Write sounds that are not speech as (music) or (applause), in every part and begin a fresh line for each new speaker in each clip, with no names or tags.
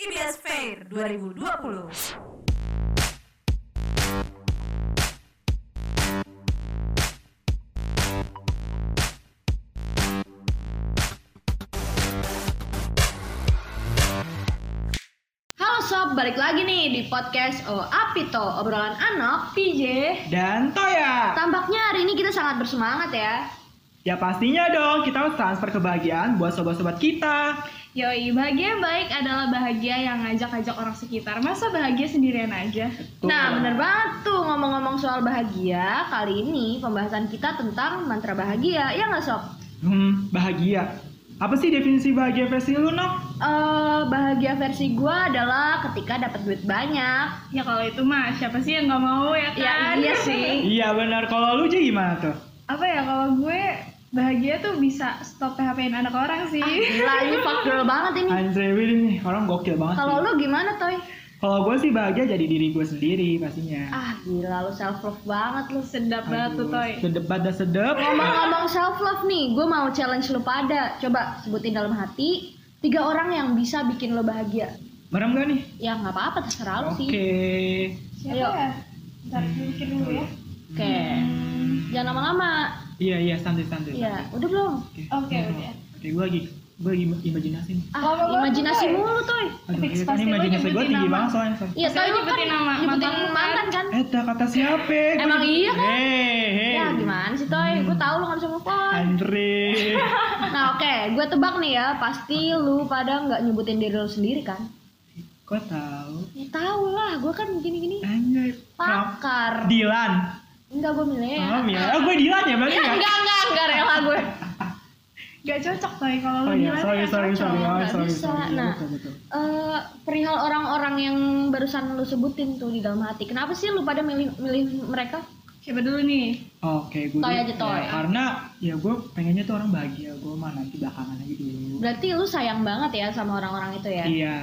IBS Fair 2020.
Halo sob, balik lagi nih di podcast O Apito, obrolan anak PJ.
Dan Toya.
Tampaknya hari ini kita sangat bersemangat ya.
Ya pastinya dong, kita harus transfer kebahagiaan buat sobat-sobat kita.
Yoi, bahagia yang baik adalah bahagia yang ngajak-ngajak orang sekitar. Masa bahagia sendirian aja?
Tuh.
Nah, bener banget tuh ngomong-ngomong soal bahagia, kali ini pembahasan kita tentang mantra bahagia, ya nggak sob?
Hmm, bahagia. Apa sih definisi bahagia versi lu, Nok?
Eh, bahagia versi gua adalah ketika dapat duit banyak.
Ya kalau itu mah siapa sih yang nggak mau ya
Ya
kan?
iya sih.
Iya benar, kalau lu aja gimana tuh?
Apa ya kalau gue bahagia tuh bisa stop PHP-in anak orang sih.
Ah, Gila, ini fuck girl banget ini.
Andre William nih, orang gokil banget.
Kalau
sih.
lu gimana, Toy?
Kalau gue sih bahagia jadi diri gue sendiri pastinya.
Ah, gila lu self love banget lu.
(laughs) Sedap banget tuh
Aduh,
Toy.
Sedep pada sedep.
Ngomong-ngomong self love nih, gue mau challenge lu pada. Coba sebutin dalam hati tiga orang yang bisa bikin lo bahagia.
Merem gak nih?
Ya nggak apa-apa terserah lu
Oke.
sih.
Siapa
Ayo.
ya? Ntar
Hmm.
gue pikir dulu ya.
Oke. Jangan lama-lama.
Iya iya santai santai.
Ya, udah belum?
Oke.
Oke,
Nah,
udah.
Oke, gue lagi gue lagi im- imajinasi nih.
Ah,
Lama-lama,
imajinasi
Toy.
mulu, Toy.
Aduh,
Fix,
ini kan
pasti lu
imajinasi gue
nyebutin
tinggi
nama.
banget soalnya. soalnya.
Iya, Toy
Pasti lu
lu kan
nyebutin nama
nyebutin
mantan lu kan?
mantan kan?
Eh, tak kata siapa? Gua
Emang
jadi-
iya kan?
Hei, hei.
Ya gimana sih, Toy? Gue tahu lu nggak bisa move on.
Andre.
(laughs) Nah, oke, gue tebak nih ya, pasti lu pada nggak nyebutin diri lu sendiri kan?
Kok tahu?
Ya tahu lah, gue kan gini-gini
Anjay. Kenapa?
pakar.
Dilan.
Enggak, gue milih.
Oh, Mia. Oh, gue Dilan ya berarti ya?
Enggak, enggak, enggak rela gue.
Gak cocok Toy kalau lu
Oh iya,
bilang
sorry,
ya.
sorry, sorry.
cocok.
Oh,
Nggak
sorry,
bisa.
sorry.
Nah.
Betul, betul.
Eh, perihal orang-orang yang barusan lu sebutin tuh di dalam hati. Kenapa sih lu pada milih milih mereka?
Siapa dulu nih?
Oke, gue
Toy aja,
ya,
Toy.
karena ya gue pengennya tuh orang bahagia. Gue mah nanti belakangan aja dulu.
Berarti lu sayang banget ya sama orang-orang itu ya?
Iya.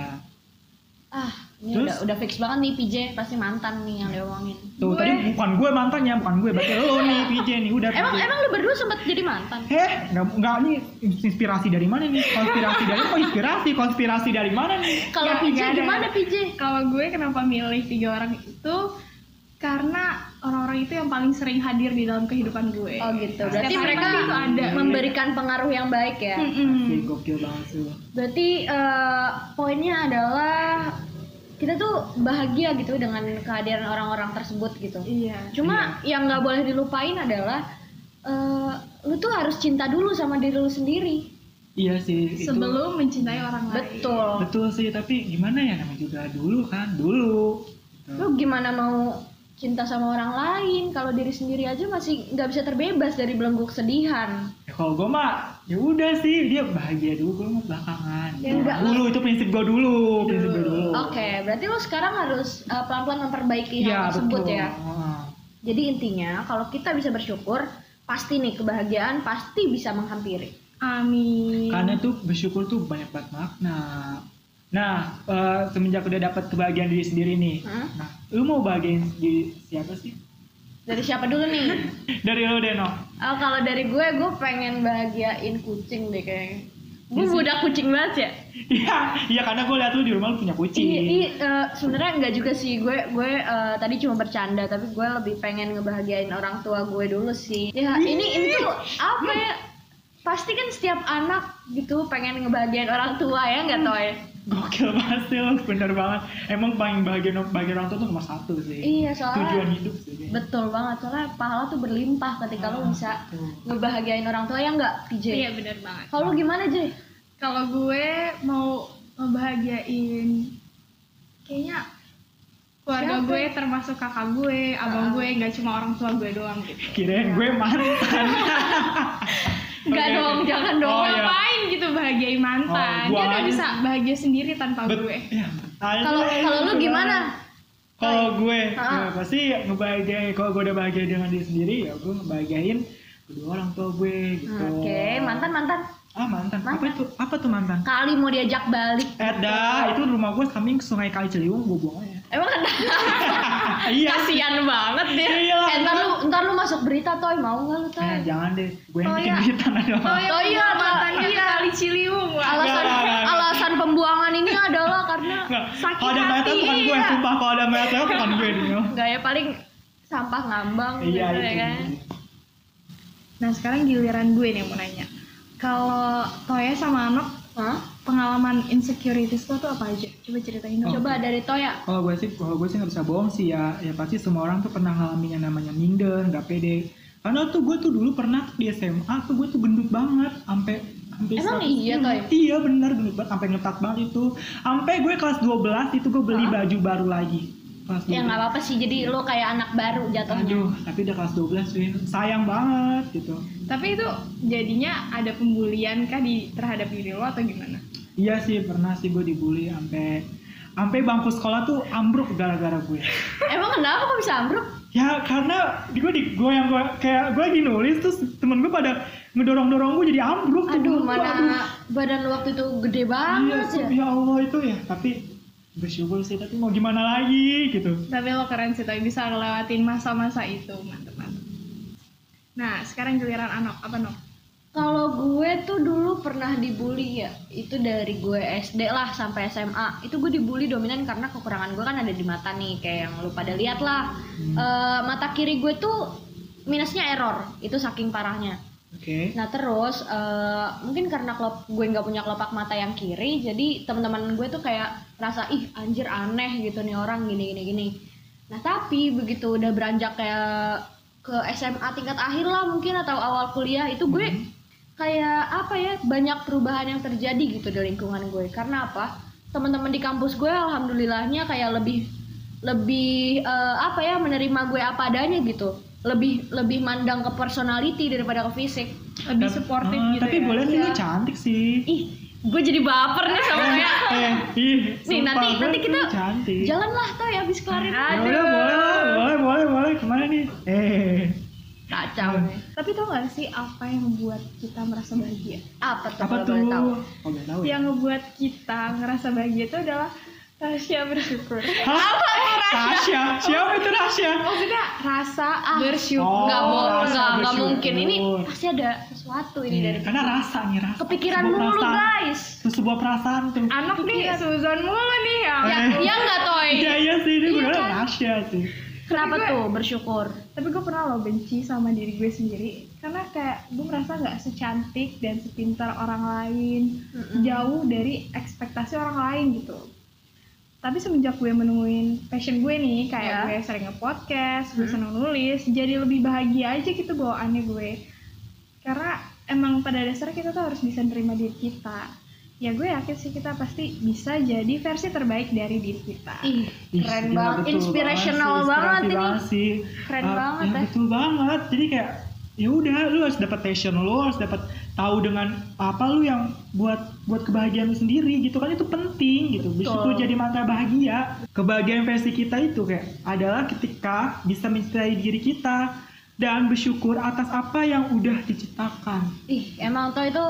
Ah, ini
Terus? Iya.
udah udah fix banget nih PJ pasti mantan nih yang diomongin.
Tuh,
Gue-
tadi bukan gue mantannya, bukan gue. Berarti lo nih, PJ nih. Udah,
Emang
PJ.
emang lu berdua sempat jadi mantan?
Heh, Eh, nggak nggak nih inspirasi dari mana nih? Konspirasi dari kok inspirasi? Konspirasi dari mana nih? Ya,
Kalau
Nggak-
PJ
nggak ada.
gimana PJ?
Kalau gue kenapa milih tiga orang itu karena orang-orang itu yang paling sering hadir di dalam kehidupan gue.
Oh gitu.
Setiap
Berarti
hari
mereka Iya.
pasti itu ada.
memberikan pengaruh yang baik ya.
Mm-mm.
Pasti gokil banget sih. lo.
Berarti eh, poinnya adalah kita tuh bahagia gitu dengan kehadiran orang-orang tersebut gitu.
Iya.
Cuma yang nggak boleh dilupain adalah eh, lu tuh harus cinta dulu sama diri lu sendiri.
Iya sih. itu-
Sebelum mencintai orang lain.
Betul.
Betul sih, tapi gimana ya namanya juga dulu kan, dulu. Gitu.
Lu gimana mau cinta sama orang lain kalau diri sendiri aja masih nggak bisa terbebas dari belenggu kesedihan.
Ya kalau gue mah ya udah sih dia bahagia dulu gue mah belakangan.
Ya enggak lah.
dulu itu prinsip gue dulu, prinsip gue dulu.
Oke, berarti lu sekarang harus eh, pelan-pelan memperbaiki hal
Iya
tersebut
betul.
ya.
Heeh.
Jadi intinya kalau kita bisa bersyukur, pasti nih kebahagiaan pasti bisa menghampiri.
Amin.
Karena tuh bersyukur tuh banyak banget makna. Nah, eh, semenjak udah dapat kebahagiaan diri sendiri nih.
Heeh.
Nah, lu mau bahagiain diri siapa sih? (laughs)
Dari siapa dulu nih?
Dari lu Deno. (laughs)
Oh, kalau dari gue, gue pengen bahagiain kucing deh kayaknya. Gue budak kucing banget ya.
Iya, iya karena gue liat lu di rumah lu punya kucing.
Iya, iya, eh, sebenarnya enggak juga sih gue gue eh, tadi cuma bercanda tapi gue lebih pengen ngebahagiain orang tua gue dulu sih. Ya
Iya,
ini ini tuh apa ya? Pasti kan setiap anak gitu pengen ngebahagiain orang tua ya enggak Toy?
Gokil banget sih lo, bener banget. Emang paling bahagia bahagia orang tua tuh nomor satu sih.
Iya soalnya
Tujuan hidup sih.
betul banget soalnya pahala tuh berlimpah ketika lo bisa
Ah, betul.
ngebahagiain orang tua ya enggak PJ?
Iya benar banget.
Kalau lu gimana Jay?
Kalau gue mau ngebahagiain kayaknya keluarga
Siapa? Ah.
gue termasuk kakak gue, abang gue, nggak cuma orang tua gue doang gitu.
Kirain gue
(laughs)
mantan. (laughs)
Enggak
Oke,
dong,
oke.
jangan dong.
Oh, iya.
Ngapain gitu bahagiain mantan?
Oh,
Dia
gua
nggak
aja
bisa bahagia sendiri tanpa
Bet-
gue.
ya. Aduh,
Kalau kalau
iya,
lu gimana?
Kalau gue,
Ha-ha.
ya, pasti ngebahagiain. Kalau gue udah bahagia dengan diri sendiri, ya gue ngebahagiain kedua orang tua gue gitu.
Oke, mantan mantan.
Ah mantan. Apa
Mantan.
itu? Apa tuh mantan?
Kali mau diajak balik.
Ada, itu rumah gue samping sungai Kali Ciliwung gue buang aja.
Emang ada. Ah,
iya. sih.
Kasian banget dia.
Iya.
eh, ntar lu ntar lu masuk berita toy mau nggak lu toy?
Eh, jangan deh, gue yang
Oh,
bikin
iya.
berita nanti.
Oh iya, Kak.
mantannya ke kali Ciliwung. Wah.
Alasan
Nggak, nggak, nggak.
alasan pembuangan ini adalah karena
Nggak,
sakit
Kalau ada mayat
hati,
lewat bukan gue,
iya.
sumpah kalau ada mayat lewat bukan gue nih.
nggak ya paling sampah ngambang
Iya
gitu ya
itu.
kan.
Nah sekarang giliran gue nih mau nanya. Kalau Toya sama Anok
Hah?
pengalaman insecurities lo tuh apa aja? Coba ceritain
Oh.
dong.
Coba dari Toya.
Kalau gue sih, kalau gue sih nggak bisa bohong sih ya. Ya pasti semua orang tuh pernah ngalamin yang namanya minder, nggak pede. Karena tuh gue tuh dulu pernah di SMA tuh gue tuh gendut banget, sampai sampai
Emang
100
iya, Toy?
Iya benar gendut banget, sampai ngetat banget itu. Sampai gue kelas 12 itu gue beli
Hah?
baju baru lagi. Kelas
Ya
12.
nggak apa-apa sih jadi lu kayak anak baru jatuhnya.
Aduh, tapi udah kelas 12 sih. Sayang banget gitu.
Tapi itu jadinya ada pembulian kah di terhadap diri lo atau gimana?
Iya sih, pernah sih gue dibully sampai sampai bangku sekolah tuh ambruk gara-gara gue.
Emang kenapa kok bisa ambruk?
Ya karena di gue di gue yang gue kayak gue lagi nulis terus temen gue pada ngedorong dorong gue jadi ambruk. tuh.
Aduh,
Gue,
mana badan lu waktu itu gede
Iya,
banget
tuh,
ya.
ya Allah itu ya. Tapi bersyukur sih tapi mau gimana lagi gitu.
Tapi lo keren sih, tapi bisa ngelewatin masa-masa itu, mantep-mantep. Nah, sekarang giliran Anok, apa Nok?
Kalau gue tuh dulu pernah dibully ya, itu dari gue SD lah sampai SMA. Itu gue dibully dominan karena kekurangan gue kan ada di mata nih, kayak yang lu pada lihat lah.
Hmm.
Eh, mata kiri gue tuh minusnya error, itu saking parahnya.
Oke.
Nah terus eh, mungkin karena kelop, gue nggak punya kelopak mata yang kiri, jadi teman-teman gue tuh kayak rasa ih anjir aneh gitu nih orang gini gini gini. Nah tapi begitu udah beranjak kayak ke SMA tingkat akhir lah mungkin atau awal kuliah itu gue kayak apa ya banyak perubahan yang terjadi gitu di lingkungan gue. Karena apa? Teman-teman di kampus gue alhamdulillahnya kayak lebih lebih eh, apa ya menerima gue apa adanya gitu lebih lebih mandang ke personality daripada ke fisik
Lebih
Tap-
supportive
Ah,
gitu
Tapi
ya?
boleh sih lu
Iya.
cantik sih.
ih gue jadi baper nih sama Toya
Eh, ih,
Nih,
sumpah,
nanti-
gue
nanti
tuh
kita
cantik.
jalanlah Toy abis kelar ini
Ya udah, boleh lah, boleh, boleh, boleh. Kemana nih? Eh,
kacau nih.
Tapi tau gak sih apa yang membuat kita merasa bahagia?
apa tuh
apa
kalau
tuh?
boleh tahu
Oh, gak tahu ya.
Yang ngebuat kita ngerasa bahagia itu adalah Tasya
(laughs)
bersyukur.
Ya.
Hah? Tasya? Siapa itu Tasya?
Maksudnya rasa bersyukur.
Oh,
ah, nggak mau
rasa
nggak nggak
bersyukur. Eh.
mungkin ini pasti ada sesuatu ini dari
Karena rasa nih rasa.
kepikiran
Sebuah
mulu
perasaan.
guys
Itu sebuah perasaan tuh.
Anok nih, Suzon mulu nih ya.
ya
Eh.
ya nggak Toy
Iya iya sih, ini
Iya,
beneran
kan?
Tasya sih.
kenapa
Tapi gue-
tuh bersyukur
Tapi gue pernah loh benci sama diri gue sendiri karena kayak gue merasa nggak secantik dan sepintar orang lain,
Mm-mm.
jauh dari ekspektasi orang lain gitu. Tapi semenjak gue menemuin passion gue nih,
Ya.
kayak gue sering nge-podcast, gue seneng nulis, jadi lebih bahagia aja gitu bawaannya gue. Karena emang pada dasarnya kita tuh harus bisa nerima diri kita. Ya gue yakin sih kita pasti bisa jadi versi terbaik dari diri kita.
ih
Ih,
keren
gila,
banget
betul
inspirational banget
inspirasi
ini
banget sih.
Keren
Ah,
banget
ya,
ya.
Betul banget. Jadi kayak ya udah lu harus dapat passion lu harus dapat tahu dengan apa lu yang buat buat kebahagiaan lu sendiri gitu kan itu penting gitu bisa
Betul.
itu jadi mata bahagia kebahagiaan versi kita itu kayak adalah ketika bisa mencintai diri kita dan bersyukur atas apa yang udah diciptakan
Ih, emang Toy itu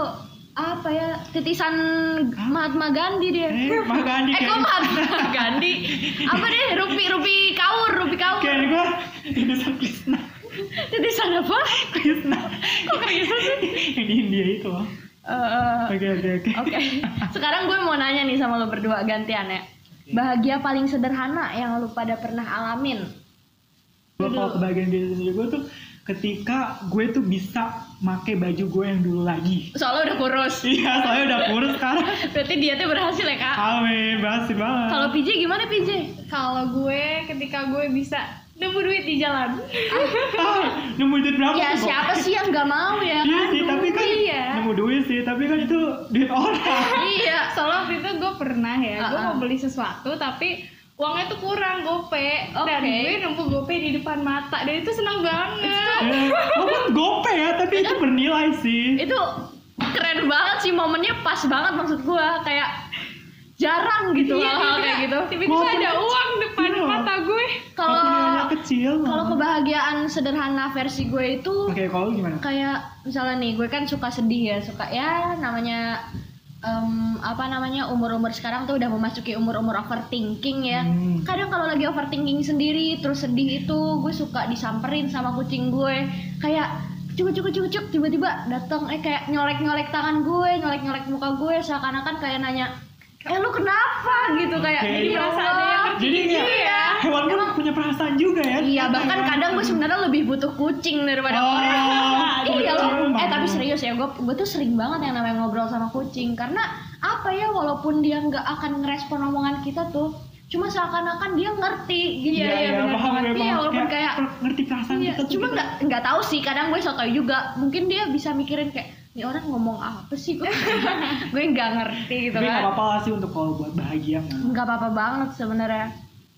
apa ya? Titisan Mahatma Gandhi dia.
eh Mah Gandhi
Eh, kok
kayak
Mahatma Gandhi? Apa deh? Rupi Rupi Kaur, Rupi Kaur.
kayak gue ini Krishna
Titisan apa?
Krishna kok Krishna sih yang di India itu loh
Eh,
oke oke oke
Oke. Sekarang gue mau nanya nih sama lo berdua gantian ya. Bahagia paling sederhana yang lo pada pernah alamin.
Gue kalau kebagian diri sendiri gue tuh ketika gue tuh bisa make baju gue yang dulu lagi.
Soalnya udah kurus.
Iya, soalnya udah kurus sekarang.
Berarti dietnya berhasil ya,
Ah.
Kak?
Amin, berhasil banget.
Kalau PJ gimana PJ?
Kalau gue ketika gue bisa nemu duit di jalan.
Ah, nemu duit berapa?
Ya
sih, Bo?
siapa sih yang gak mau ya?
Iya
kan?
sih, tapi kan
iya.
nemu duit sih, tapi kan itu duit orang.
Iya.
Soalnya waktu itu gue pernah ya, gue
Uh-uh.
mau beli sesuatu tapi uangnya tuh kurang gope dan
Oke.
gue nemu gope di depan mata dan itu senang banget.
Eh, Walaupun gope ya, tapi itu bernilai sih.
itu keren banget sih momennya pas banget maksud gua kayak jarang gitu
Iya,
hal-hal
tiba-tiba-
kayak gitu
Tiba-tiba
Walaupun-
ada uang depan
Iya.
mata gue.
Walaupun nilainya
kalau
kecil.
Kalau kebahagiaan sederhana versi gue itu
Oke, kalau lu gimana?
kayak misalnya nih gue kan suka sedih ya suka ya namanya em, apa namanya umur-umur sekarang tuh udah memasuki umur-umur overthinking ya
Hmm.
kadang kalau lagi overthinking sendiri terus sedih itu gue suka disamperin sama kucing gue kayak cuk cuk cuk cuk tiba-tiba datang eh kayak nyolek-nyolek tangan gue nyolek-nyolek muka gue seakan-akan kayak nanya eh lu kenapa gitu kayak
Oke.
"Ya
Merasa ada yang
Allah."
Jadi ya,
Iya.
hewan kan punya perasaan juga
Iya,
ya. ternyata
bahkan
ya.
kadang gue sebenarnya lebih butuh kucing daripada
Oh,
orang. Iya loh.
betul,
Eh tapi
Bang.
serius ya, gue gue tuh sering banget yang namanya ngobrol sama kucing karena apa ya, walaupun dia nggak akan ngerespon omongan kita tuh, cuma seakan-akan dia ngerti gitu.
Iya,
Iya,
iya,
iya, benar
paham
banget.
ya,
Iya,
paham.
walaupun kayak-
per- ngerti perasaan
Iya,
kita tuh.
cuma
gitu.
nggak nggak tahu sih. Kadang gue sotoy juga. Mungkin dia bisa mikirin kayak, nih orang ngomong apa sih (laughs) gue? gue nggak ngerti gitu
Tapi nggak
kan. Iya.
apa-apa lah sih untuk kalau buat bahagia nggak.
Nggak apa-apa banget sebenarnya.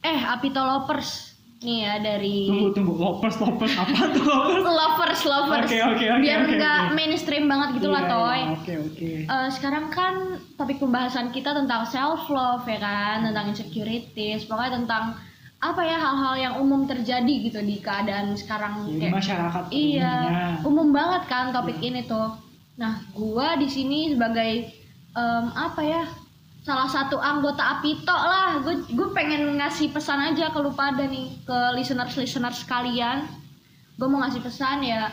Eh, Apito Lovers nih ya dari
Tunggu tunggu, lopers lopers apa tuh lopers?
lovers lovers
Oke, oke, oke,
biar
oke,
nggak
oke.
mainstream banget gitu lah
Iya,
toy
iya, Oke oke.
Eh, sekarang kan topik pembahasan kita tentang self love ya kan tentang insecurities pokoknya tentang apa ya hal-hal yang umum terjadi gitu di keadaan sekarang
Jadi
kayak-
masyarakat
iya
umumnya. Iya.
umum banget kan topik ini tuh nah gua di sini sebagai em, apa ya salah satu anggota Apito lah gue pengen ngasih pesan aja ke lu pada nih ke listeners listeners sekalian gue mau ngasih pesan ya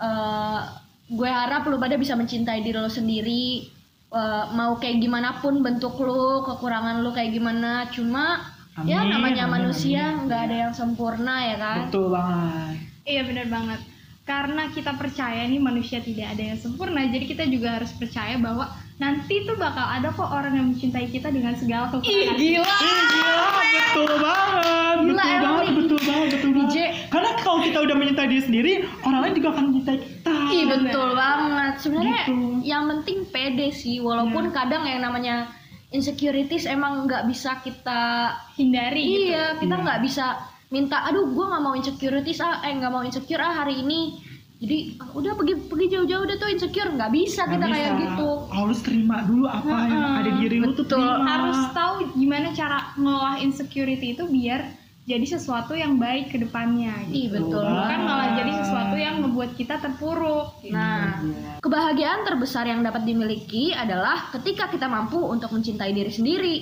eh, gue harap lu pada bisa mencintai diri lu sendiri Eh, mau kayak gimana pun bentuk lu kekurangan lu kayak gimana cuma ya
Amin,
namanya
amin,
manusia
amin.
nggak ada yang sempurna ya kan
Betul banget.
Iya benar banget. Karena kita percaya nih manusia tidak ada yang sempurna, jadi kita juga harus percaya bahwa nanti tuh bakal ada kok orang yang mencintai kita dengan
Ih,
segala kekurangan.
gila
Ih, gila, betul banget,
Ah! Gila,
betul
emang
banget,
nih.
betul banget, betul banget.
DJ.
Karena kalau kita udah mencintai diri sendiri, orang lain juga akan mencintai kita.
Ih betul banget. Sebenarnya
Gitu. Iya.
yang penting pede sih, walaupun kadang yang namanya insecurities emang nggak bisa kita
Hindari gitu.
iya kita
Iya.
nggak bisa minta aduh gue nggak mau insecurities ah eh nggak mau insecure ah hari ini jadi ah, udah pergi pergi jauh-jauh udah tuh insecure nggak bisa
Nggak
kita kayak
bisa.
gitu
Harus terima dulu apa yang
Mm-mm.
ada di diri lu tuh
Betul.
terima.
Harus
Ah.
tahu gimana cara ngolah insecurity itu biar jadi sesuatu yang baik ke depannya gitu.
Ih betul. Kan
Betul
Bukan
banget.
malah jadi sesuatu yang ngebuat kita terpuruk.
Iya.
gitu.
Ah. Nah, kebahagiaan terbesar yang dapat dimiliki adalah ketika kita mampu untuk mencintai diri sendiri,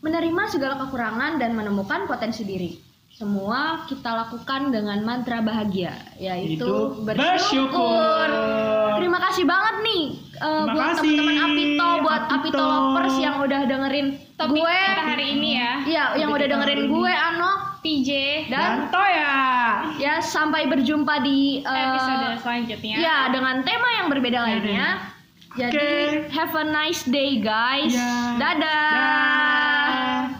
menerima segala kekurangan dan menemukan potensi diri. Semua kita lakukan dengan mantra bahagia, yaitu
Itu bersyukur.
bersyukur. Terima kasih banget nih uh,
Terima
buat
kasih,
teman-teman Apito, buat
Apito.
Apito lovers yang udah dengerin
Topik
gue.
kita hari ini ya.
Iya, yang udah
Topik kita
dengerin
hari ini.
gue Ano
PJ
dan
ya.
ya sampai berjumpa di uh,
episode selanjutnya.
Ya, dengan tema yang berbeda lainnya. Jadi,
Iya, Oke.
have a nice day guys.
Ya.
Dadah.
Dah.